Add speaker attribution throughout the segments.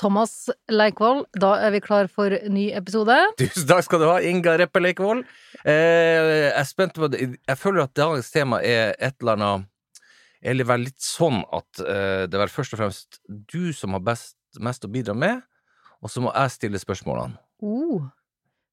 Speaker 1: Thomas Leikvoll. Da er vi klar for ny episode.
Speaker 2: Tusen takk skal du ha, Inga Reppe Leikvoll. Eh, jeg er spent på det. Jeg føler at dagens tema er et eller annet Eller vel litt sånn at eh, det er vel først og fremst du som har best, mest å bidra med, og så må jeg stille spørsmålene.
Speaker 1: Oh,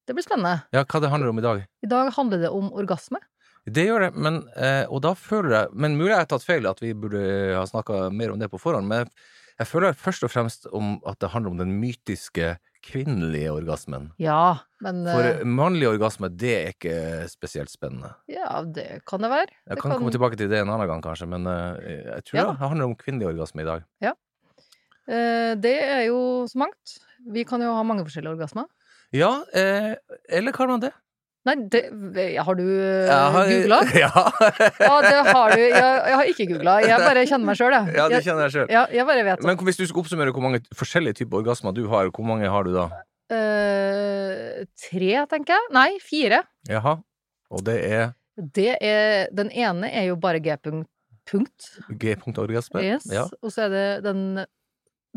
Speaker 1: det blir spennende.
Speaker 2: Ja, hva det handler om i dag?
Speaker 1: I dag handler det om orgasme.
Speaker 2: Det gjør det, men, eh, og da føler jeg Men mulig jeg har tatt feil, at vi burde ha snakka mer om det på forhånd, men jeg føler først og fremst om at det handler om den mytiske kvinnelige orgasmen.
Speaker 1: Ja, men eh,
Speaker 2: For mannlig orgasme, det er ikke spesielt spennende.
Speaker 1: Ja, det kan det være.
Speaker 2: Jeg
Speaker 1: Det
Speaker 2: kan, komme tilbake til det en annen gang, kanskje, men eh, jeg tror
Speaker 1: Ja da.
Speaker 2: det handler om kvinnelig orgasme i dag.
Speaker 1: Eh, det er jo så mangt. Vi kan jo ha mange forskjellige orgasmer.
Speaker 2: Ja, eh, eller kan man det?
Speaker 1: Nei, det Har du eh,
Speaker 2: Jeg har-
Speaker 1: googla?
Speaker 2: Ja,
Speaker 1: Ja, det har du. Jeg, jeg har ikke googla. Jeg bare kjenner meg sjøl, jeg.
Speaker 2: ja det
Speaker 1: jeg.
Speaker 2: kjenner jeg sjøl.
Speaker 1: Ja, jeg bare vet det.
Speaker 2: Men hvis du skal oppsummere hvor mange forskjellige typer orgasmer du har, hvor mange har du da?
Speaker 1: Eh, tre, tenker jeg. Nei, fire.
Speaker 2: Jaha. Og det er
Speaker 1: Det er, den ene er jo bare G-punkt. Punkt.
Speaker 2: G-punktorgasme?
Speaker 1: Yes.
Speaker 2: Ja.
Speaker 1: Og så er det den,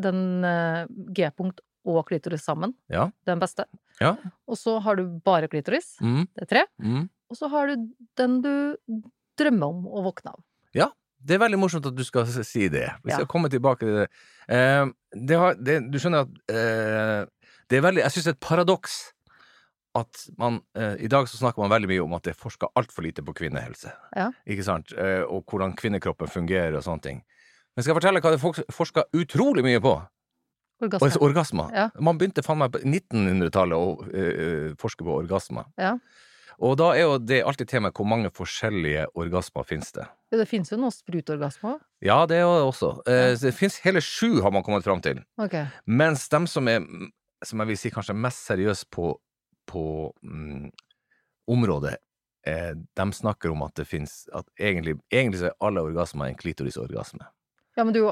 Speaker 1: den eh, G-punkt og klitoris sammen.
Speaker 2: Ja.
Speaker 1: Den beste.
Speaker 2: Ja.
Speaker 1: Og så har du bare klitoris.
Speaker 2: Mm,
Speaker 1: Det er tre.
Speaker 2: mm.
Speaker 1: Og så har du den du drømmer om å våkne av.
Speaker 2: Det er veldig morsomt at du skal s- si det. Vi skal
Speaker 1: Ja.
Speaker 2: komme tilbake til det. Eh, det, har, det du skjønner at eh, det er veldig, Jeg syns det er et paradoks at man eh, I dag så snakker man veldig mye om at det er forska altfor lite på kvinnehelse.
Speaker 1: Ja.
Speaker 2: Ikke sant? Eh, og hvordan kvinnekroppen fungerer og sånne ting. Men skal jeg fortelle hva det er forska utrolig mye på?
Speaker 1: Orgasme.
Speaker 2: Orgasme. orgasmer.
Speaker 1: Ja.
Speaker 2: Man begynte faen meg på 1900-tallet å eh, forske på orgasmer.
Speaker 1: Ja.
Speaker 2: Og da er jo det alltid temaet hvor mange forskjellige orgasmer finnes det.
Speaker 1: Ja, det fins jo noe sprutorgasme òg.
Speaker 2: Ja, det er jo også. Eh,
Speaker 1: Ja.
Speaker 2: så Det fins hele sju, har man kommet fram til.
Speaker 1: Ok.
Speaker 2: Mens dem som er, mm, som jeg vil si, kanskje er mest seriøse på, på mm, området, eh, dem snakker om at det fins At egentlig, egentlig så er alle orgasmer en klitorisorgasme.
Speaker 1: Ja, men du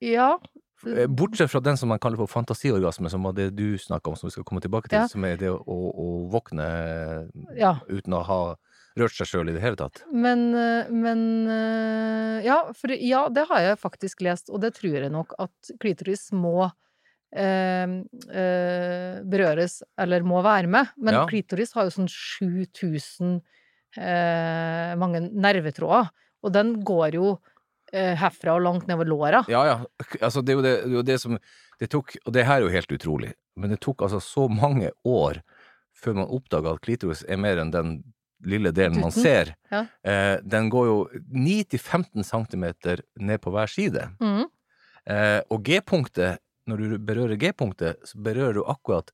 Speaker 1: Ja. Mm.
Speaker 2: Eh, Bortsett fra den som man kaller for fantasiorgasme, som var det du snakka om, som vi skal komme tilbake til,
Speaker 1: Ja.
Speaker 2: som er det å, å, å våkne
Speaker 1: ja.
Speaker 2: uten å ha rørt seg sjøl i det hele tatt.
Speaker 1: Men, eh, men eh, ja, for, ja, det har jeg faktisk lest, og det tror jeg nok at klitoris må eh, eh, berøres, eller må være med. Men
Speaker 2: Ja.
Speaker 1: klitoris har jo sånn 7000 eh, mange nervetråder, og den går jo eh, herfra og langt nedover låra.
Speaker 2: Ja, ja. Altså, det er jo det, det, er jo det som det tok, Og det her er jo helt utrolig, men det tok altså så mange år før man oppdaga at klitoris er mer enn den lille delen man
Speaker 1: Tutten.
Speaker 2: ser.
Speaker 1: Ja.
Speaker 2: Eh, den går jo 9-15 cm ned på hver side.
Speaker 1: Mm.
Speaker 2: Eh, og G-punktet, når du berører G-punktet, så berører du akkurat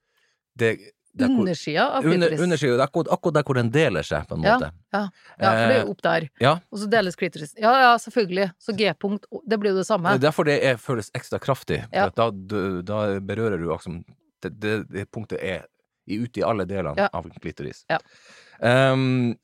Speaker 2: det der hvor-
Speaker 1: Undersida av
Speaker 2: under,
Speaker 1: klitoris.
Speaker 2: undersiden, det er akkurat, akkurat der hvor den deler seg, på en
Speaker 1: Ja,
Speaker 2: måte.
Speaker 1: ja, for det er
Speaker 2: Eh,
Speaker 1: jo opp der.
Speaker 2: ja.
Speaker 1: Og så deles klitoris. Ja, ja, selvfølgelig. Så G-punkt, det blir jo det samme.
Speaker 2: Det er derfor det er, føles ekstra kraftig. for
Speaker 1: Ja.
Speaker 2: at Da, du- da berører du liksom det, det, det punktet er i- ute i alle delene
Speaker 1: Ja.
Speaker 2: av klitoris.
Speaker 1: Ja.
Speaker 2: Ehm,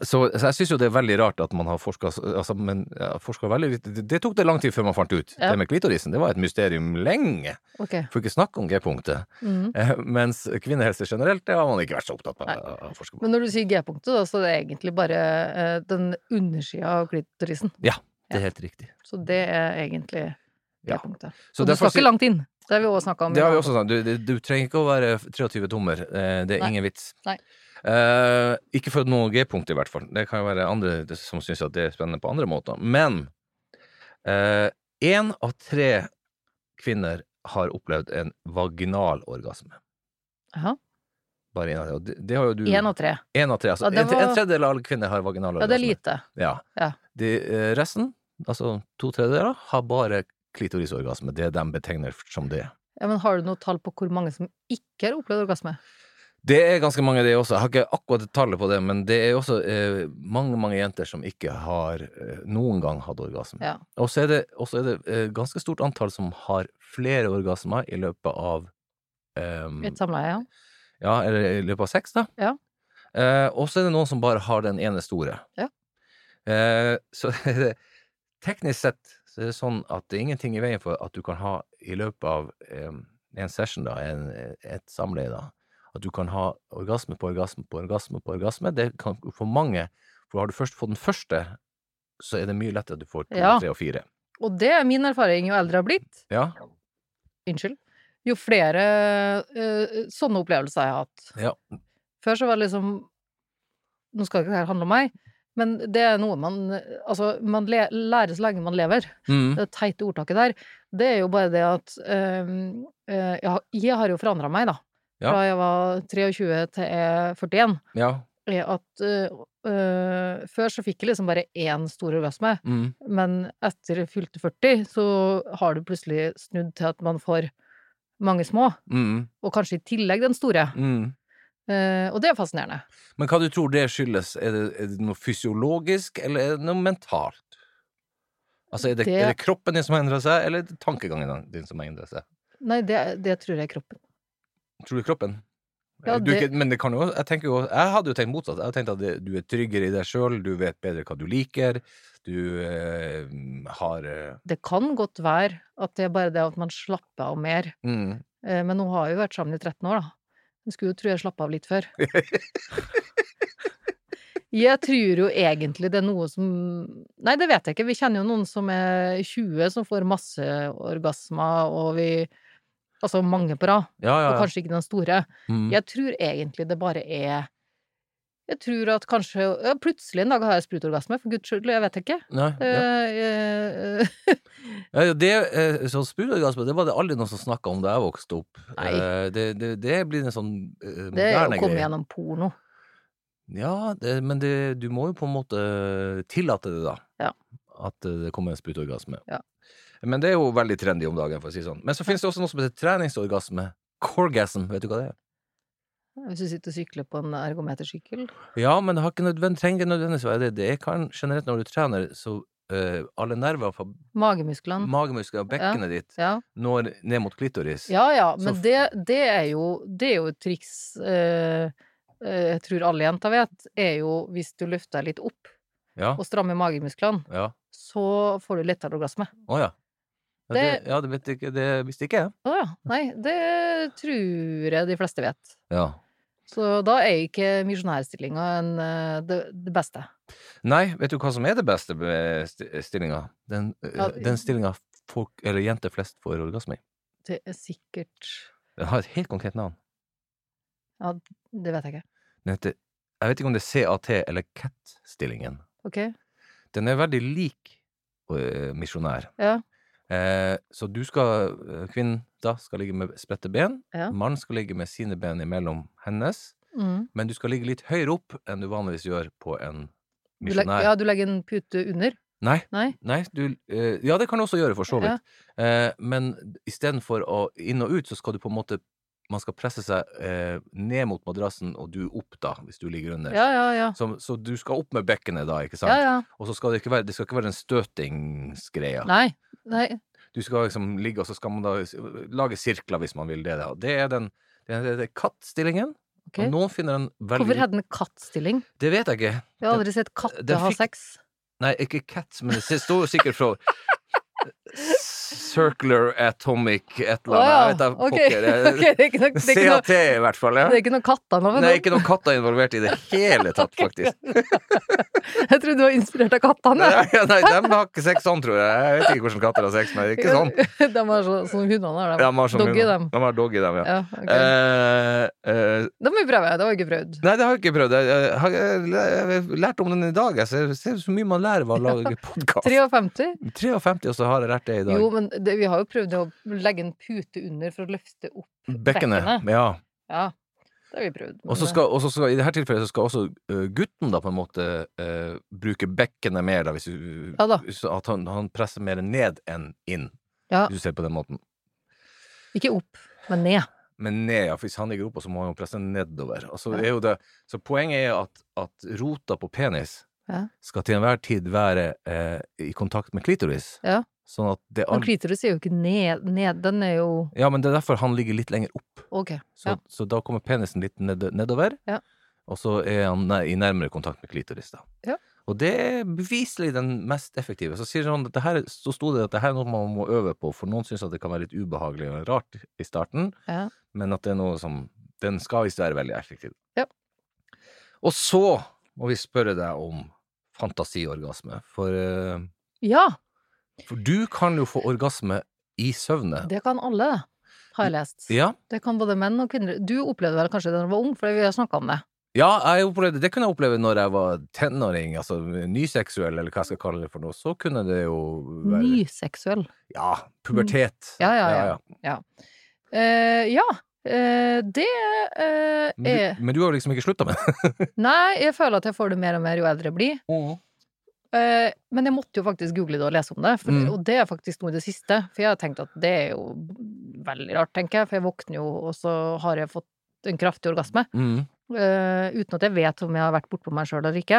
Speaker 2: så, så jeg syns jo det er veldig rart at man har forska altså, men, ja, forsket veldig litt det, det tok det lang tid før man fant ut.
Speaker 1: Ja.
Speaker 2: Det med klitorisen det var et mysterium lenge.
Speaker 1: Ok.
Speaker 2: Får ikke snakke om G-punktet.
Speaker 1: Mm.
Speaker 2: Eh, mens kvinnehelse generelt, det har man ikke vært så opptatt av
Speaker 1: Nei.
Speaker 2: å forske på.
Speaker 1: Men når du sier G-punktet, da, så er det egentlig bare eh, den undersida av klitorisen.
Speaker 2: Det er helt riktig.
Speaker 1: Så det er egentlig
Speaker 2: Ja.
Speaker 1: G-punktet.
Speaker 2: Så
Speaker 1: Og du
Speaker 2: derfor
Speaker 1: skal
Speaker 2: sier-
Speaker 1: ikke langt inn. Det har vi også snakka om.
Speaker 2: Det har vi
Speaker 1: i-
Speaker 2: også sagt. Du, du, du trenger ikke å være 23 tommer. Eh, Det er
Speaker 1: Nei.
Speaker 2: ingen vits.
Speaker 1: Nei.
Speaker 2: Eh, ikke for noe G-punkt, i hvert fall. Det kan jo være andre som syns at det er spennende på andre måter. Men én av tre kvinner har opplevd en vaginal orgasme.
Speaker 1: Jaha.
Speaker 2: Bare en av tre. Og det, det har jo du
Speaker 1: Én av tre.
Speaker 2: En av tre. Altså,
Speaker 1: Ja, det
Speaker 2: en, tre- en
Speaker 1: var-
Speaker 2: tredjedel av alle kvinner har vaginal
Speaker 1: Ja,
Speaker 2: orgasme.
Speaker 1: det er lite.
Speaker 2: Ja.
Speaker 1: Ja.
Speaker 2: De, eh, resten, altså to tredjedeler, har bare klitorisorgasme. Det de betegner som det.
Speaker 1: Ja, men har du noe tall på hvor mange som ikke har opplevd orgasme?
Speaker 2: Det er ganske mange, det også. Jeg har ikke akkurat tallet på det, men det er også eh, mange mange jenter som ikke har eh, noen gang hatt orgasme.
Speaker 1: Ja.
Speaker 2: Og så er det, og så er det eh, ganske stort antall som har flere orgasmer i løpet av ehm,
Speaker 1: Et samleie, ja.
Speaker 2: Ja, eller i løpet av sex, da.
Speaker 1: Ja.
Speaker 2: Eh, og så er det noen som bare har den ene store.
Speaker 1: Ja.
Speaker 2: Eh, så er det teknisk sett så er det sånn at det er ingenting i veien for at du kan ha i løpet av eh, en session, da, en, et samleie, da, at du kan ha orgasme på orgasme på orgasme på orgasme. Det kan for mange, for har du først fått den første, så er det mye lettere at du får to,
Speaker 1: Ja.
Speaker 2: tre og fire.
Speaker 1: Og det er min erfaring jo eldre jeg har blitt.
Speaker 2: Ja.
Speaker 1: Unnskyld. Jo flere eh, sånne opplevelser jeg har hatt.
Speaker 2: Ja.
Speaker 1: Før så var det liksom Nå skal ikke dette handle om meg, men det er noe man Altså, man le, lærer så lenge man lever.
Speaker 2: Mm.
Speaker 1: Det teite eh, ordtaket der, det er jo bare det at øhm, øh, jeg, har- jeg har jo forandra meg, da.
Speaker 2: Ja.
Speaker 1: Fra jeg var 23 til jeg er 41.
Speaker 2: ja.
Speaker 1: Er at øh, øh, før så fikk jeg liksom bare én stor orgasme,
Speaker 2: Mm.
Speaker 1: men etter jeg fylte 40 så har du plutselig snudd til at man får mange små,
Speaker 2: Mm.
Speaker 1: og kanskje i tillegg den store.
Speaker 2: Mm.
Speaker 1: Eh, og det er fascinerende.
Speaker 2: Men hva du tror det skyldes? Er det, er det noe fysiologisk, eller er det noe mentalt? Altså, er det,
Speaker 1: Det-
Speaker 2: er det kroppen din som har endra seg, eller er det tankegangen din som har endra seg?
Speaker 1: Nei, det, det tror jeg er kroppen.
Speaker 2: Tror du kroppen?
Speaker 1: Ja,
Speaker 2: du,
Speaker 1: det-
Speaker 2: ikke- men det kan jo, jeg, tenker jo, jeg hadde jo tenkt motsatt. Jeg hadde tenkt at det, du er tryggere i deg sjøl, du vet bedre hva du liker, du eh, har eh,
Speaker 1: Det kan godt være at det er bare det at man slapper av mer.
Speaker 2: mm.
Speaker 1: Eh, Men hun har jo vært sammen i 13 år, da. Hun skulle jo tro jeg slapp av litt før. Jeg tror jo egentlig det er noe som Nei, det vet jeg ikke. Vi kjenner jo noen som er 20, som får masse orgasmer, og vi Altså mange på rad,
Speaker 2: Ja, ja,
Speaker 1: og
Speaker 2: ja.
Speaker 1: kanskje ikke den store.
Speaker 2: Mm.
Speaker 1: Jeg tror egentlig det bare er Jeg tror at kanskje ja, Plutselig en dag har jeg sprutorgasme, for guds skyld, jeg vet ikke.
Speaker 2: Nei, ja.
Speaker 1: Eh, eh,
Speaker 2: Ja, ja, det, eh, sånn sprutorgasme, det var det aldri noen som snakka om da jeg vokste opp.
Speaker 1: Nei.
Speaker 2: Eh, Det, det, det blir en sånn eh,
Speaker 1: Det er
Speaker 2: moderne
Speaker 1: å komme
Speaker 2: greie.
Speaker 1: gjennom porno.
Speaker 2: Ja, det, men det, du må jo på en måte tillate det, da.
Speaker 1: Ja.
Speaker 2: At eh, det kommer en sprutorgasme.
Speaker 1: Ja.
Speaker 2: Men det er jo veldig trendy om dagen, for å si det sånn. Men så finnes det også noe som heter treningsorgasme. Corgasm, vet du hva det er?
Speaker 1: Hvis du sitter og sykler på en ergometersykkel.
Speaker 2: Ja, men det har ikke nødvendig, trenger ikke nødvendigvis være det. Det kan generelt når du trener, så eh, alle nerver fra
Speaker 1: Magemusklene.
Speaker 2: magemuskler og bekkenet ditt
Speaker 1: Sånn. Ja.
Speaker 2: når ned mot klitoris.
Speaker 1: ja ja,
Speaker 2: Så
Speaker 1: men
Speaker 2: f-
Speaker 1: det, det er jo Det er jo et triks eh, eh, jeg tror alle jenter vet, er jo hvis du løfter deg litt opp
Speaker 2: Ja.
Speaker 1: og strammer magemusklene,
Speaker 2: ja.
Speaker 1: så får du lettere orgasme.
Speaker 2: Å ja. Ja, det,
Speaker 1: Det-
Speaker 2: ja, det vet ikke Det visste ikke jeg.
Speaker 1: Å ja. Nei, det tror jeg de fleste vet.
Speaker 2: Ja.
Speaker 1: Så da er ikke misjonærstillinga en, eh, det, det beste.
Speaker 2: Nei, vet du hva som er det beste med st- stillinga? Den,
Speaker 1: Ja,
Speaker 2: eh, den stillinga folk, eller jenter flest, får orgasme i.
Speaker 1: Det er sikkert
Speaker 2: Den har et helt konkret navn.
Speaker 1: Det vet jeg ikke.
Speaker 2: Den heter Jeg vet ikke om det er CAT eller CAT-stillingen.
Speaker 1: Ok?
Speaker 2: Den er veldig lik eh, misjonær.
Speaker 1: Ja.
Speaker 2: Eh, så du skal eh, Kvinnen da skal ligge med spredte ben.
Speaker 1: Ja.
Speaker 2: Mannen skal ligge med sine ben imellom hennes.
Speaker 1: Mm.
Speaker 2: Men du skal ligge litt høyere opp enn du vanligvis gjør på en
Speaker 1: Du legger-
Speaker 2: misjonær.
Speaker 1: ja, du legger en pute under?
Speaker 2: Nei.
Speaker 1: Nei?
Speaker 2: Nei, du eh, Ja, det kan du også gjøre, for så vidt. Eh, men istedenfor å inn og ut, så skal du på en måte Man skal presse seg eh, ned mot madrassen, og du opp, da, hvis du ligger under.
Speaker 1: Ja, ja, ja.
Speaker 2: Så, så du skal opp med bekkenet, da, ikke sant?
Speaker 1: Ja, ja.
Speaker 2: Og så skal det ikke være, det skal ikke være en støtingsgreie.
Speaker 1: Nei. Nei.
Speaker 2: Du skal liksom ligge, og så skal man da s- lage sirkler hvis man vil det. da. Det er den det er- det er kattstillingen.
Speaker 1: Ok.
Speaker 2: Og noen finner den veldig
Speaker 1: Hvorfor hadde den kattstilling?
Speaker 2: Det vet jeg ikke.
Speaker 1: Jeg har aldri sett katter
Speaker 2: den
Speaker 1: ha
Speaker 2: fikk-
Speaker 1: sex.
Speaker 2: Nei, ikke cat, men det står sikkert fra Circular Atomic et eller annet. Jeg vet da
Speaker 1: Ok,
Speaker 2: pokker.
Speaker 1: ok, det er ikke noe, det er ikke noe,
Speaker 2: CAT i hvert fall, ja.
Speaker 1: det er ikke noe kattenavn.
Speaker 2: Nei, ikke noen katter involvert i det hele tatt, faktisk.
Speaker 1: Jeg trodde du var inspirert av kattene.
Speaker 2: Nei, nei, de har ikke sex sånn, tror jeg. Jeg vet ikke hvordan katter har sex, men det er ikke sånn.
Speaker 1: De har så, sånn hundene har,
Speaker 2: De
Speaker 1: de.
Speaker 2: har sånn
Speaker 1: Doggy,
Speaker 2: hund.
Speaker 1: dem.
Speaker 2: De har doggy, dem, ja.
Speaker 1: Ja, ok.
Speaker 2: Eh, eh,
Speaker 1: Det må vi prøve. Det har vi ikke prøvd.
Speaker 2: nei, det har jeg ikke prøvd. Jeg, jeg, har- jeg, har lært om den i dag. Jeg ser, ser så mye man lærer ved å lage podkast.
Speaker 1: 53?
Speaker 2: 53, og så har jeg lært det i dag.
Speaker 1: Jo, men det, vi har jo prøvd å legge en pute under for å løfte opp.
Speaker 2: Bekkenet.
Speaker 1: bekkenet.
Speaker 2: Ja.
Speaker 1: Ja, det har vi prøvd. men
Speaker 2: Og så
Speaker 1: det-
Speaker 2: skal, og så skal, i dette tilfellet så skal også ø, gutten da på en måte ø, bruke bekkenet mer, da, hvis du,
Speaker 1: Ja da.
Speaker 2: så at han, han presser mer ned enn inn,
Speaker 1: Ja.
Speaker 2: hvis du ser på den måten.
Speaker 1: eh, Ikke opp, men ned.
Speaker 2: Men ned, ja, for hvis han ligger oppe, så må han jo presse nedover. Og så,
Speaker 1: Ja.
Speaker 2: er jo det, så poenget er at, at rota på penis
Speaker 1: Ja.
Speaker 2: skal til enhver tid være ø, i kontakt med klitoris.
Speaker 1: Ja.
Speaker 2: Sånn at det
Speaker 1: Men
Speaker 2: aldri
Speaker 1: klitoris er jo ikke ned, ned. Den er jo
Speaker 2: Ja, men det er derfor han ligger litt lenger opp.
Speaker 1: Ok.
Speaker 2: Så,
Speaker 1: Ja.
Speaker 2: så da kommer penisen litt ned, nedover,
Speaker 1: Ja.
Speaker 2: og så er han nær- i nærmere kontakt med klitoris. da.
Speaker 1: Ja.
Speaker 2: Og det er beviselig den mest effektive. Så sier han at det her, så sto det at det her er noe man må øve på, for noen syns at det kan være litt ubehagelig og rart i starten,
Speaker 1: Ja.
Speaker 2: men at det er noe som Den skal visst være veldig effektiv.
Speaker 1: Ja.
Speaker 2: Og så må vi spørre deg om fantasiorgasme, for, eh,
Speaker 1: Ja,
Speaker 2: for du kan jo få orgasme i søvne.
Speaker 1: det kan alle. har jeg lest.
Speaker 2: Ja,
Speaker 1: Det kan både menn og kvinner Du opplevde vel kanskje det da du var ung, for vi har snakka om det.
Speaker 2: ja jeg opplevde, det kunne jeg oppleve når jeg var tenåring, altså nyseksuell, eller hva jeg skal kalle det for noe. Så kunne det jo være
Speaker 1: Nyseksuell.
Speaker 2: Ja, pubertet.
Speaker 1: Mm. Ja, ja, ja. Eh, ja. eh, det eh,
Speaker 2: Men,
Speaker 1: er
Speaker 2: du, men du har jo liksom ikke slutta med det.
Speaker 1: Nei, jeg føler at jeg får det mer og mer jo eldre jeg blir. Eh, men jeg måtte jo faktisk google det og lese om det, for,
Speaker 2: Mm.
Speaker 1: og det er faktisk noe i det siste. For jeg har tenkt at det er jo veldig rart, tenker jeg, for jeg våkner jo, og så har jeg fått en kraftig orgasme.
Speaker 2: Mm.
Speaker 1: eh, uten at jeg vet om jeg har vært bortpå meg sjøl eller ikke.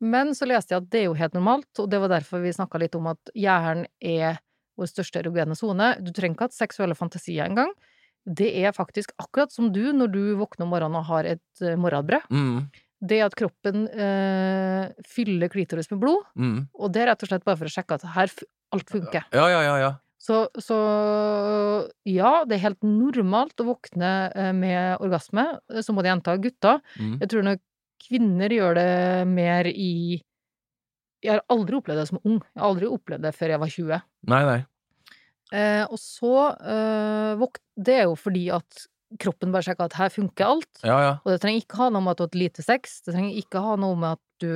Speaker 1: Men så leste jeg at det er jo helt normalt, og det var derfor vi snakka litt om at hjernen er vår største erogene sone. Du trenger ikke ha seksuelle fantasier engang. Det er faktisk akkurat som du når du våkner om morgenen og har et eh, morgenbrød.
Speaker 2: Mm.
Speaker 1: Det at kroppen eh, fyller klitoris med blod,
Speaker 2: Mm.
Speaker 1: og det er rett og slett bare for å sjekke at her f- alt funker.
Speaker 2: Ja, ja, ja, ja.
Speaker 1: Så, så ja, det er helt normalt å våkne eh, med orgasme. Så må de gjenta gutta.
Speaker 2: Mm.
Speaker 1: Jeg tror nok kvinner gjør det mer i Jeg har aldri opplevd det som ung. Jeg har aldri opplevd det før jeg var 20.
Speaker 2: Nei, nei.
Speaker 1: Eh, og så eh, våk- Det er jo fordi at kroppen bare sjekker at her funker alt.
Speaker 2: Ja, ja.
Speaker 1: Og det trenger ikke ha noe med at du har hatt lite sex, det trenger ikke ha noe med at du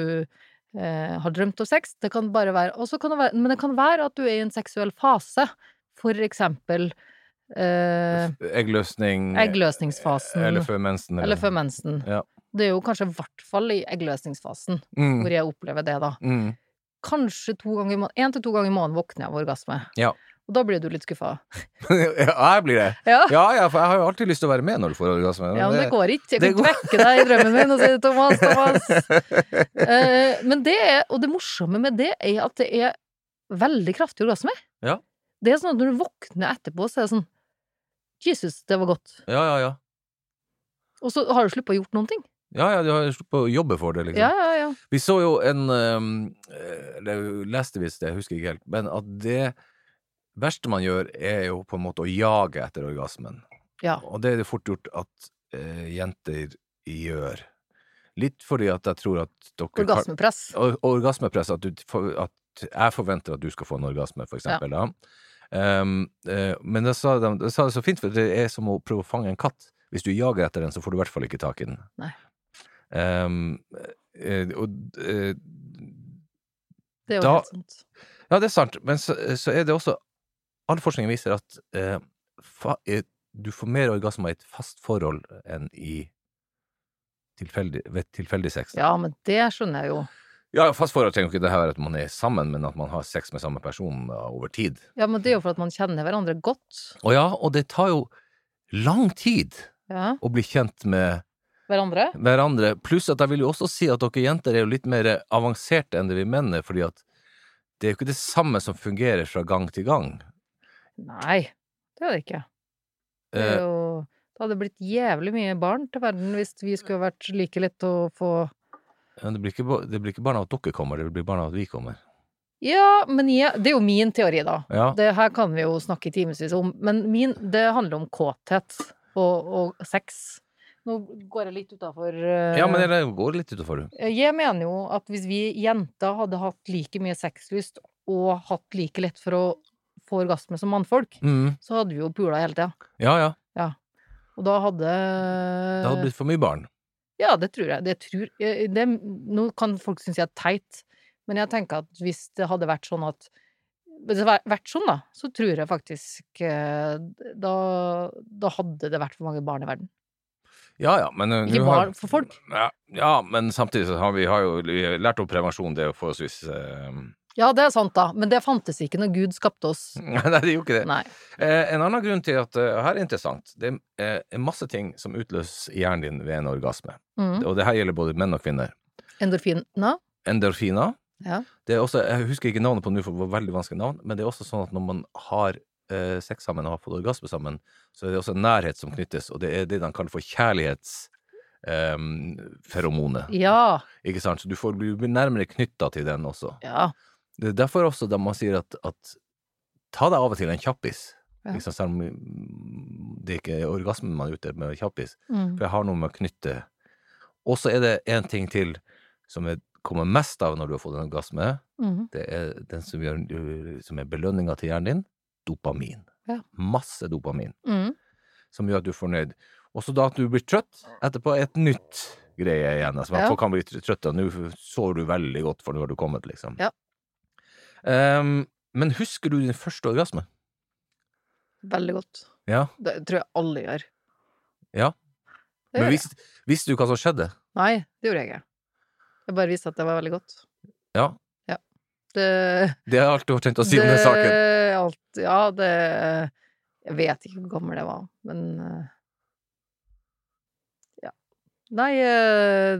Speaker 1: eh, har drømt om sex. Det kan bare være, og så kan det være Men det kan være at du er i en seksuell fase. For eksempel eh,
Speaker 2: Eggløsning
Speaker 1: eggløsningsfasen.
Speaker 2: Eller før mensen.
Speaker 1: eller før mensen.
Speaker 2: Ja.
Speaker 1: Det er jo kanskje i hvert fall i eggløsningsfasen
Speaker 2: Mm.
Speaker 1: hvor jeg opplever det, da.
Speaker 2: Mm.
Speaker 1: Kanskje to ganger i måneden, én til to ganger i måneden våkner jeg av orgasme.
Speaker 2: Ja.
Speaker 1: Og da blir du litt skuffa.
Speaker 2: ja, jeg blir det.
Speaker 1: Ja.
Speaker 2: Ja, ja, for jeg har jo alltid lyst til å være med når du får orgasme.
Speaker 1: Ja, men det går ikke. Jeg
Speaker 2: det
Speaker 1: kan ikke vekke deg i drømmen min og si 'Thomas, Thomas'. Eh, men det er, og det morsomme med det er at det er veldig kraftig orgasme.
Speaker 2: Ja.
Speaker 1: Det er sånn at når du våkner etterpå, så er det sånn 'Jesus, det var godt'.
Speaker 2: Ja, ja, ja.
Speaker 1: Og så har du sluppet å gjort noen ting.
Speaker 2: Ja, ja, du har sluppet å jobbe for det, liksom.
Speaker 1: Ja, ja, ja.
Speaker 2: Vi så jo en ehm, eh, Eller leste visst det, jeg husker ikke helt. Men at det verste man gjør, er jo på en måte å jage etter orgasmen.
Speaker 1: Ja.
Speaker 2: Og det er det fort gjort at eh, jenter gjør. Litt fordi at jeg tror at dere kan-
Speaker 1: Orgasmepress.
Speaker 2: Or- orgasmepress, at, du, for, at jeg forventer at du skal få en orgasme, for eksempel. Da. Ehm, eh, men det sa, de, det sa det så fint, for det er som å prøve å fange en katt. Hvis du jager etter den, så får du i hvert fall ikke tak i den.
Speaker 1: Nei.
Speaker 2: Ehm, eh, og, eh,
Speaker 1: Det er jo
Speaker 2: Da-
Speaker 1: helt sant.
Speaker 2: ja, det er sant, men så, så er det også All forskning viser at eh, fa, eh, du får mer orgasmer i et fast forhold enn i tilfeldig, ved tilfeldig sex.
Speaker 1: Ja, men det skjønner jeg jo.
Speaker 2: Ja, fast forhold trenger jo ikke det her være at man er sammen, men at man har sex med samme person da, over tid.
Speaker 1: Ja, men det er jo for at man kjenner hverandre godt.
Speaker 2: Og ja, og det tar jo lang tid
Speaker 1: Ja.
Speaker 2: å bli kjent med
Speaker 1: Hverandre.
Speaker 2: hverandre. Pluss at jeg vil jo også si at dere jenter er jo litt mer avanserte enn det vi menn er, fordi at det er jo ikke det samme som fungerer fra gang til gang.
Speaker 1: Nei, det er det ikke. Det er
Speaker 2: Eh,
Speaker 1: jo Det hadde blitt jævlig mye barn til verden hvis vi skulle vært like lett å få
Speaker 2: men det, blir ikke, ba- det blir ikke bare av at dere kommer, det blir bare av at vi kommer.
Speaker 1: Ja, men jeg, det er jo min teori, da.
Speaker 2: Ja,
Speaker 1: Det her kan vi jo snakke i timevis om, men min Det handler om kåthet og, og sex. Nå går jeg litt utafor eh,
Speaker 2: ja men det går litt utenfor du.
Speaker 1: Jeg mener jo at hvis vi jenter hadde hatt like mye sexlyst og hatt like lett for å få orgasme som mannfolk,
Speaker 2: Mm,
Speaker 1: så hadde vi jo pula hele tida.
Speaker 2: ja, ja.
Speaker 1: Og da hadde
Speaker 2: Det hadde blitt for mye barn.
Speaker 1: Ja, det tror jeg. Det tror, eh, det, nå kan folk synes jeg er teit, men jeg tenker at hvis det hadde vært sånn at Hvis det hadde vært sånn, da, så tror jeg faktisk eh, Da, da hadde det vært for mange barn i verden.
Speaker 2: Ja, ja, men eh,
Speaker 1: Ikke
Speaker 2: nå har-
Speaker 1: barn, for folk.
Speaker 2: Ja, ja, men samtidig så har vi har jo vi lært opp prevensjon, det er jo forholdsvis eh,
Speaker 1: Ja, det er sant, da, men det fantes ikke når Gud skapte oss.
Speaker 2: Nei, det er jo ikke det.
Speaker 1: Nei.
Speaker 2: Eh, en annen grunn til at eh, og Her er interessant. Det er eh, masse ting som utløses i hjernen din ved en orgasme.
Speaker 1: Mm.
Speaker 2: Og det her gjelder både menn og kvinner.
Speaker 1: Endorfinene.
Speaker 2: Endorfiner.
Speaker 1: Ja.
Speaker 2: Det er også, jeg husker ikke navnet på det nå, for det var veldig vanskelig navn, men det er også sånn at når man har eh, sex sammen og har fått orgasme sammen, så er det også en nærhet som knyttes, og det er det de kaller for eh, kjærlighetsferomonet.
Speaker 1: Ja.
Speaker 2: Ikke sant? Så du, får, du blir nærmere knytta til den også.
Speaker 1: Ja.
Speaker 2: Det er derfor også da man sier at, at ta deg av og til en kjappis.
Speaker 1: Ja.
Speaker 2: Liksom, selv om mm, det ikke er orgasmen man er ute med kjappis.
Speaker 1: Mm.
Speaker 2: For jeg har noe med å knytte Og så er det én ting til som jeg kommer mest av når du har fått en orgasme.
Speaker 1: Mm.
Speaker 2: Det er den som, gjør, som er belønninga til hjernen din. Dopamin.
Speaker 1: Ja.
Speaker 2: Masse dopamin.
Speaker 1: Mm.
Speaker 2: som gjør at du er fornøyd. Og så da at du blir trøtt etterpå, er et nytt greie igjen. Altså,
Speaker 1: Ja.
Speaker 2: Folk kan bli tr- trøtte, og nå sover du veldig godt, for nå har du kommet, liksom.
Speaker 1: Ja.
Speaker 2: Ehm, men husker du din første orgasme?
Speaker 1: Veldig godt.
Speaker 2: Ja.
Speaker 1: Det tror jeg alle gjør.
Speaker 2: Ja.
Speaker 1: Det
Speaker 2: Men
Speaker 1: gjør jeg.
Speaker 2: visste, visste du hva som skjedde?
Speaker 1: Nei, det gjorde jeg ikke. Jeg bare visste at det var veldig godt.
Speaker 2: Ja.
Speaker 1: Ja. Det
Speaker 2: Det har jeg alltid tenkt å si om den saken.
Speaker 1: Det- Alt, ja, det Jeg vet ikke hvor gammel jeg var, men eh, Ja. Nei, eh,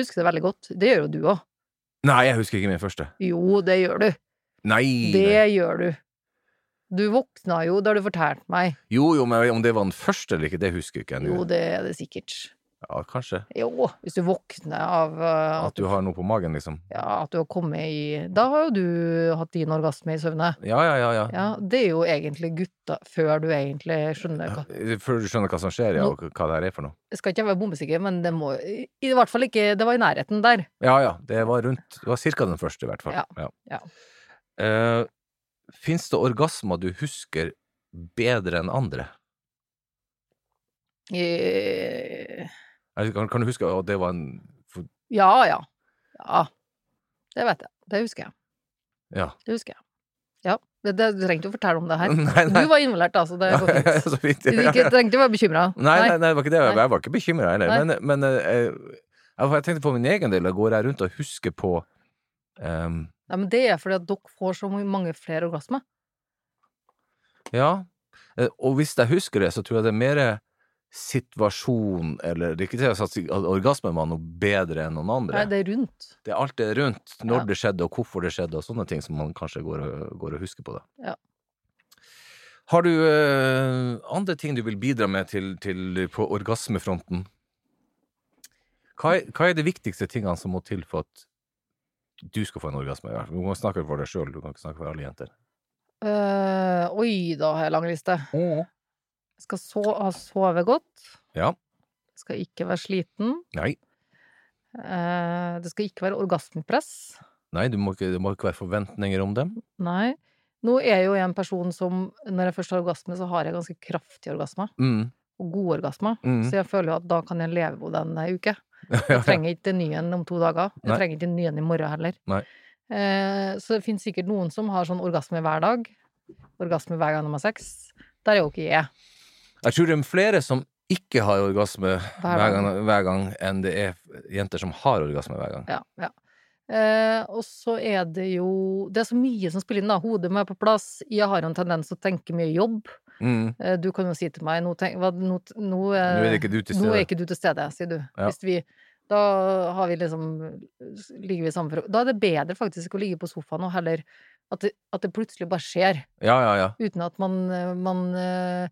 Speaker 1: husker det veldig godt. Det gjør jo du òg.
Speaker 2: Nei, jeg husker ikke min første.
Speaker 1: Jo, det gjør du.
Speaker 2: Nei! nei.
Speaker 1: Det gjør du. Du våkna jo, det har du fortalt meg.
Speaker 2: Jo, jo, men om det var den første eller ikke, det husker jeg ikke
Speaker 1: Jo,
Speaker 2: ennå.
Speaker 1: det er det sikkert.
Speaker 2: Ja, kanskje.
Speaker 1: Jo, hvis du våkner av eh,
Speaker 2: At du har noe på magen, liksom.
Speaker 1: ja, at du har kommet i Da har jo du hatt din orgasme i søvne.
Speaker 2: Ja, ja, ja. ja.
Speaker 1: Ja, det er jo egentlig gutta før du egentlig skjønner hva
Speaker 2: Før du skjønner hva som skjer, ja, og hva det her er for noe.
Speaker 1: skal ikke være bombesikker, men det må i, i hvert fall ikke Det var i nærheten der.
Speaker 2: Ja, ja. Det var rundt Det var cirka den første, i hvert fall.
Speaker 1: Ja,
Speaker 2: ja. Eh, Fins det orgasmer du husker bedre enn andre?
Speaker 1: Eh,
Speaker 2: Eller Kan, kan du huske at det var en for-
Speaker 1: Ja, ja. Ja. Det vet jeg. Det husker jeg.
Speaker 2: Ja.
Speaker 1: Det husker jeg. Ja. Det, det, du trengte jo å fortelle om det her.
Speaker 2: Nei,
Speaker 1: Du
Speaker 2: nei.
Speaker 1: var involvert, da, så det går fint.
Speaker 2: Så fint.
Speaker 1: Du ikke, trengte ikke være bekymra.
Speaker 2: Nei, nei, nei, det var ikke det. Jeg,
Speaker 1: Nei.
Speaker 2: jeg var ikke bekymra heller.
Speaker 1: Nei.
Speaker 2: Men, men eh, jeg, jeg tenkte på min egen del. Da går jeg rundt og husker på ehm,
Speaker 1: Nei, men det er fordi at dere får så mange flere orgasmer.
Speaker 2: Ja. Eh, Og hvis jeg husker det, så tror jeg det er mer situasjon eller Det er ikke det jeg sa, at orgasmen var noe bedre enn noen andre.
Speaker 1: Nei, det er rundt.
Speaker 2: Det er alt det rundt. Når
Speaker 1: Ja.
Speaker 2: det skjedde, og hvorfor det skjedde, og sånne ting som man kanskje går, og- går og husker på. da.
Speaker 1: Ja.
Speaker 2: Har du eh, andre ting du vil bidra med til, til på orgasmefronten? Hva er, hva er de viktigste tingene som må til for at du skal få en orgasme? Ja, Du må snakke for deg sjøl, du kan ikke snakke for alle jenter.
Speaker 1: Eh, oi, da har jeg lang liste. Mm. Jeg skal så, ha sovet godt.
Speaker 2: Ja.
Speaker 1: Jeg skal ikke være sliten.
Speaker 2: Nei.
Speaker 1: Eh, det skal ikke være orgasmepress.
Speaker 2: Nei, du må ikke, det må ikke være forventninger om dem.
Speaker 1: Nei. Nå er jeg jo en person som, når jeg først har orgasme, så har jeg ganske kraftig orgasme.
Speaker 2: Mm.
Speaker 1: Og god orgasme.
Speaker 2: Mm.
Speaker 1: Så jeg føler jo at da kan jeg leve på den ei uke. Jeg trenger ikke en ny en om to dager. Jeg
Speaker 2: Nei.
Speaker 1: trenger ikke en ny en i morgen heller.
Speaker 2: Nei.
Speaker 1: Eh, så det finnes sikkert noen som har sånn orgasme hver dag. Orgasme hver gang de har sex. Der er jo ikke jeg.
Speaker 2: Jeg tror det er flere som ikke har orgasme
Speaker 1: Hver
Speaker 2: hver gang, hver gang enn det er jenter som har orgasme hver gang.
Speaker 1: Ja, ja. Eh, og så er det jo Det er så mye som spiller inn, da. Hodet må være på plass. Jeg har jo en tendens til å tenke mye jobb.
Speaker 2: Mm.
Speaker 1: Eh, du kan jo si til meg nå, tenk, hva, nå, nå,
Speaker 2: Nå er
Speaker 1: eh,
Speaker 2: det ikke du til
Speaker 1: Nå
Speaker 2: stede.
Speaker 1: er ikke du til stede, sier du.
Speaker 2: Ja.
Speaker 1: Hvis vi, da har vi liksom ligger vi sammen for, Da er det bedre faktisk å ligge på sofaen og heller at det, at det plutselig bare skjer,
Speaker 2: Ja, ja, ja.
Speaker 1: uten at man, eh, man eh,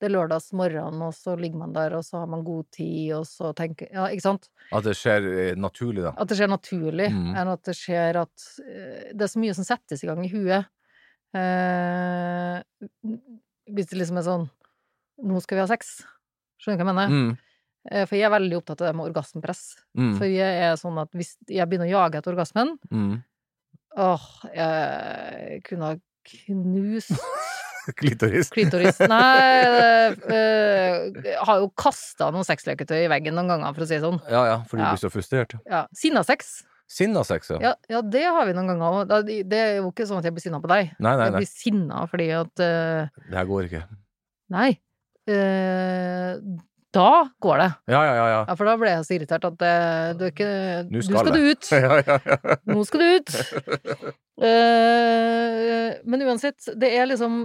Speaker 1: Det er lørdags morgen, og så ligger man der, og så har man god tid, og så tenker Ja, ikke sant?
Speaker 2: At det skjer eh, naturlig, da.
Speaker 1: At det skjer naturlig,
Speaker 2: Mm.
Speaker 1: enn at det skjer at eh, Det er så mye som settes i gang i huet. Eh, hvis det liksom er sånn Nå skal vi ha sex. Skjønner du hva jeg mener?
Speaker 2: Mm.
Speaker 1: Eh, For jeg er veldig opptatt av det med orgasmepress.
Speaker 2: Mm.
Speaker 1: For jeg er sånn at hvis jeg begynner å jage etter orgasmen
Speaker 2: Mm.
Speaker 1: Åh, jeg kunne ha knust
Speaker 2: Klitoris.
Speaker 1: klitoris Nei, det, eh, jeg har jo kasta noen sexleketøy i veggen noen ganger, for å si det sånn.
Speaker 2: Ja, ja, fordi
Speaker 1: Ja.
Speaker 2: du blir så frustrert.
Speaker 1: Ja. Sinnasex.
Speaker 2: Sinna sex, ja.
Speaker 1: Ja, ja, det har vi noen ganger. og da- Det er jo ikke sånn at jeg blir sinna på deg.
Speaker 2: Nei, nei,
Speaker 1: Jeg
Speaker 2: nei.
Speaker 1: blir sinna fordi at eh,
Speaker 2: Det her går ikke.
Speaker 1: Nei. eh, da går det.
Speaker 2: Ja, ja, ja. ja.
Speaker 1: Ja, for da ble jeg så irritert at eh, du er ikke
Speaker 2: Nå
Speaker 1: Du
Speaker 2: skal
Speaker 1: skal du ut!
Speaker 2: ja, ja, ja.
Speaker 1: Nå skal du ut! Eh, men uansett, det er liksom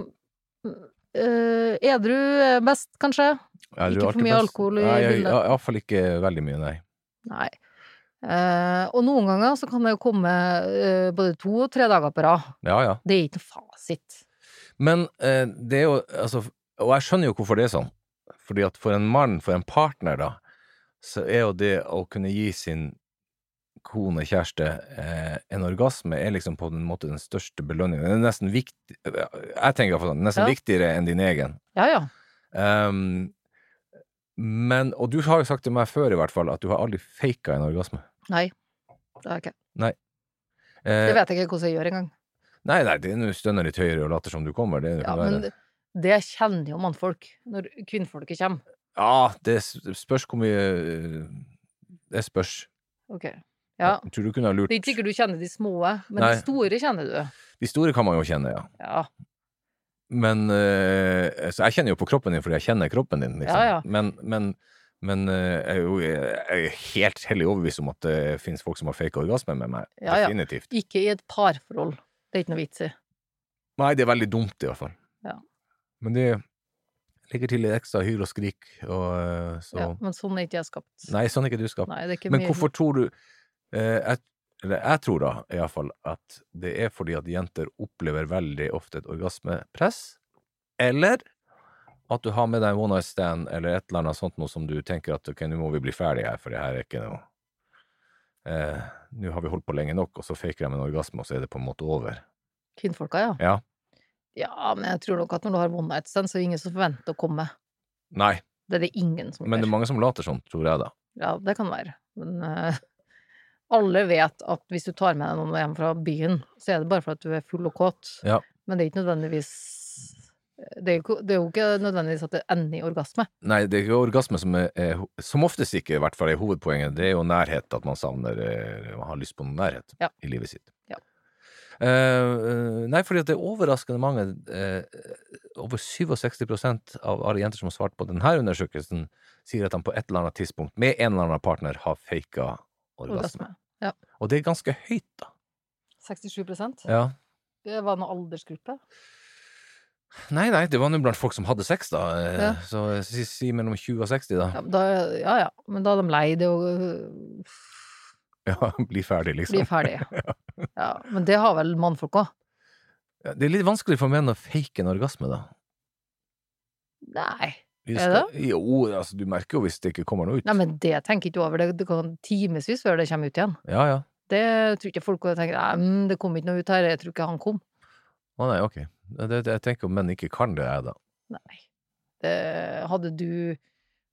Speaker 1: eh, Edru er best, kanskje?
Speaker 2: Ja, du
Speaker 1: Ikke
Speaker 2: er
Speaker 1: for
Speaker 2: alltid
Speaker 1: mye
Speaker 2: best.
Speaker 1: alkohol i
Speaker 2: Nei, jeg-
Speaker 1: bildet.
Speaker 2: ja, Iallfall ikke veldig mye, nei.
Speaker 1: Nei. Eh, og noen ganger så kan det jo komme eh, både to og tre dager på rad.
Speaker 2: Ja, ja.
Speaker 1: Det er ikke noe fasit.
Speaker 2: Men eh, det er jo altså, Og jeg skjønner jo hvorfor det er sånn. Fordi at for en mann, for en partner, da, så er jo det å kunne gi sin kone, kjæreste, eh, en orgasme, er liksom på en måte den største belønningen. Den er nesten viktig Jeg tenker iallfall sånn. Nesten
Speaker 1: Ja.
Speaker 2: viktigere enn din egen.
Speaker 1: Ja, ja.
Speaker 2: Ehm, men Og du har jo sagt til meg før, i hvert fall, at du har aldri faka en orgasme.
Speaker 1: Det, er ikke.
Speaker 2: Eh,
Speaker 1: det vet jeg ikke hvordan jeg gjør engang.
Speaker 2: nei, nei, det er nå stønner litt høyere og later som du kommer. Det er jo
Speaker 1: Ja,
Speaker 2: ikke noe verre.
Speaker 1: men det, Det kjenner jo mannfolk når kvinnfolket kommer.
Speaker 2: Ja, det s- spørs hvor mye eh, Det spørs.
Speaker 1: Ok. Ja.
Speaker 2: Jeg tror du kunne ha lurt
Speaker 1: Det er ikke sikkert du kjenner de små, men
Speaker 2: Nei.
Speaker 1: de store kjenner du.
Speaker 2: De store kan man jo kjenne, ja.
Speaker 1: Ja.
Speaker 2: Men eh, Så jeg kjenner jo på kroppen din fordi jeg kjenner kroppen din, liksom.
Speaker 1: Ja, ja.
Speaker 2: Men, men, men eh, jeg er jo jeg er helt hellig overbevist om at det finnes folk som har fake orgasme med meg.
Speaker 1: Ja, ja.
Speaker 2: Definitivt.
Speaker 1: Ikke i et parforhold. Det er ikke noe vits i.
Speaker 2: Nei, det er veldig dumt, i hvert fall.
Speaker 1: Ja.
Speaker 2: Men det ligger til litt ekstra hyr og skrik, og eh, så
Speaker 1: Ja, men sånn er ikke jeg skapt.
Speaker 2: Nei, sånn er ikke du skapt.
Speaker 1: Nei, det er ikke
Speaker 2: Men
Speaker 1: mye-
Speaker 2: hvorfor tror du eh, jeg, Eller jeg tror da iallfall at det er fordi at jenter opplever veldig ofte et orgasmepress, eller at du har med deg en one night stand eller et eller annet sånt noe som du tenker at ok, nå må vi bli ferdig her, for det her er ikke noe eh, Nå har vi holdt på lenge nok, og så faker jeg med en orgasme, og så er det på en måte over.
Speaker 1: Kvinnfolka, ja.
Speaker 2: Ja.
Speaker 1: Ja, men jeg tror nok at når du har one night stand, så er det ingen som forventer å komme.
Speaker 2: Nei,
Speaker 1: Det er det ingen som
Speaker 2: men det
Speaker 1: gjør.
Speaker 2: er mange som later sånn, tror jeg, da.
Speaker 1: Ja, det kan være. Men eh, alle vet at hvis du tar med deg noen hjem fra byen, så er det bare for at du er full og kåt.
Speaker 2: Ja.
Speaker 1: Men det er ikke nødvendigvis eh, det er, jo, ikke- det er jo ikke nødvendigvis at det ender i orgasme.
Speaker 2: Nei, det er ikke orgasme som er, er ho- Som oftest ikke, i hvert fall, er hovedpoenget. Det er jo nærhet, at man savner eh, Man har lyst på noe nærhet
Speaker 1: Ja.
Speaker 2: i livet sitt.
Speaker 1: Ja.
Speaker 2: Eh, eh, nei, fordi at det er overraskende mange eh, Over 67 av alle jenter som har svart på denne undersøkelsen, sier at de på et eller annet tidspunkt med en eller annen partner har faka orgasme.
Speaker 1: Orgasme.
Speaker 2: Og det er ganske høyt, da.
Speaker 1: 67
Speaker 2: Ja.
Speaker 1: Det var noen aldersgruppe.
Speaker 2: Nei, nei, det var nå blant folk som hadde sex, da. eh,
Speaker 1: Ja.
Speaker 2: Så eh, si, si mellom 20 og 60, da.
Speaker 1: Ja, men da, ja, ja. Men da er de lei det og øh,
Speaker 2: Ja, bli ferdig, liksom.
Speaker 1: blir ferdig. Ja, men det har vel mannfolk òg?
Speaker 2: Ja, Det er litt vanskelig for menn å fake en orgasme, da.
Speaker 1: Nei.
Speaker 2: Vi
Speaker 1: Er
Speaker 2: skal- Jo, altså, du merker jo hvis det ikke kommer noe ut.
Speaker 1: Nei, men det tenker ikke du over. Det, det kan timevis før det kommer ut igjen.
Speaker 2: Ja, ja.
Speaker 1: Det tror ikke folk tenker Nei, mm, det kom ikke noe ut her. Jeg tror ikke han kom.
Speaker 2: Å nei, ok. Det, det, jeg tenker om menn ikke kan det, jeg, da.
Speaker 1: Nei. Det, hadde du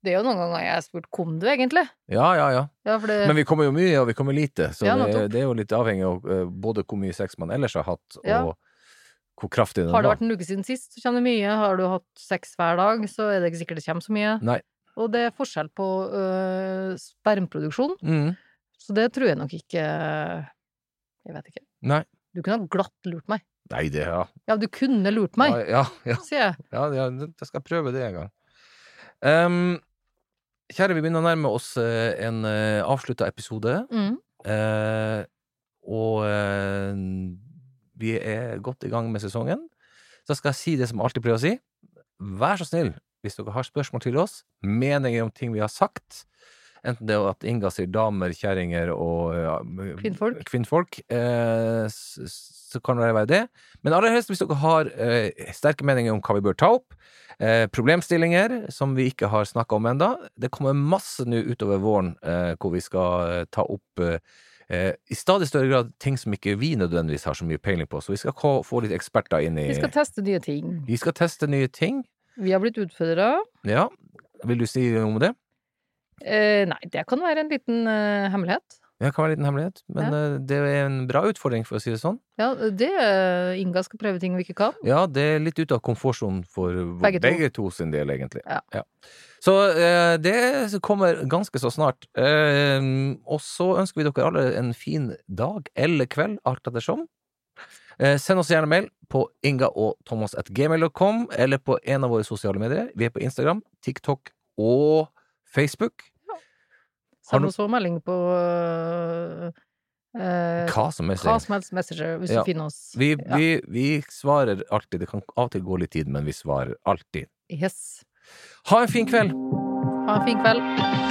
Speaker 1: Det er jo noen ganger jeg har spurt kom du egentlig?
Speaker 2: Ja, ja, ja.
Speaker 1: Ja, for det
Speaker 2: Men vi kommer jo mye, og vi kommer lite, så
Speaker 1: Eh. Ja,
Speaker 2: det,
Speaker 1: nettopp.
Speaker 2: det er jo litt avhengig av eh, både hvor mye sex man ellers har hatt,
Speaker 1: Ja.
Speaker 2: og hvor kraftig den
Speaker 1: har det
Speaker 2: var.
Speaker 1: vært en uke siden sist, så kommer det mye. Har du hatt sex hver dag, så er det ikke sikkert det kommer så mye.
Speaker 2: Nei.
Speaker 1: Og det er forskjell på øh, spermproduksjon,
Speaker 2: Mm.
Speaker 1: så det tror jeg nok ikke Jeg vet ikke.
Speaker 2: Nei.
Speaker 1: Du kunne ha glatt lurt meg.
Speaker 2: Nei, det ja.
Speaker 1: Ja, du kunne lurt meg,
Speaker 2: Ja, ja,
Speaker 1: sier jeg.
Speaker 2: ja, ja, det- jeg skal prøve det en gang. Ehm, kjære, vi begynner å nærme oss eh, en uh, avslutta episode.
Speaker 1: Mm.
Speaker 2: Eh, og eh, vi er godt i gang med sesongen. Så skal jeg si det som jeg alltid pleier å si. Vær så snill, hvis dere har spørsmål til oss, meninger om ting vi har sagt, enten det er at Inga sier damer, kjerringer og ja, m-
Speaker 1: Kvinnfolk.
Speaker 2: kvinnfolk, eh, s- s- så kan det være det. Men aller helst hvis dere har eh, sterke meninger om hva vi bør ta opp, eh, problemstillinger som vi ikke har snakka om enda Det kommer masse nå utover våren eh, hvor vi skal eh, ta opp eh, eh, i stadig større grad ting som ikke vi nødvendigvis har så mye peiling på. Så vi skal ko- få litt eksperter inn i
Speaker 1: Vi skal teste nye ting.
Speaker 2: vi skal teste nye ting.
Speaker 1: Vi har blitt utfordra.
Speaker 2: Ja. Vil du si noe om det?
Speaker 1: Eh, nei, det kan være en liten eh, hemmelighet.
Speaker 2: Ja, Det kan være en liten hemmelighet, men eh, det er en bra utfordring, for å si det sånn.
Speaker 1: Ja, det eh, Inga skal prøve ting vi ikke kan.
Speaker 2: Ja, det er litt ute av komfortsonen for
Speaker 1: Begge
Speaker 2: begge,
Speaker 1: to.
Speaker 2: to sin del, egentlig.
Speaker 1: Ja.
Speaker 2: Så eh, det kommer ganske så snart. Eh, og så ønsker vi dere alle en fin dag eller kveld, alt ettersom. Eh, send oss gjerne mail på inga og thomas at gmail.com, eller på en av våre sosiale medier. Vi er på Instagram, TikTok og Facebook. Har
Speaker 1: Send
Speaker 2: du-
Speaker 1: oss også melding på eh, eh,
Speaker 2: Hva som helst.
Speaker 1: hva som helst Messenger, hvis
Speaker 2: Ja.
Speaker 1: du finner oss.
Speaker 2: Vi,
Speaker 1: Ja.
Speaker 2: vi, vi svarer alltid. Det kan av og til gå litt tid, men vi svarer alltid.
Speaker 1: Yes.
Speaker 2: Ha en fin kveld!
Speaker 1: Ha en fin kveld.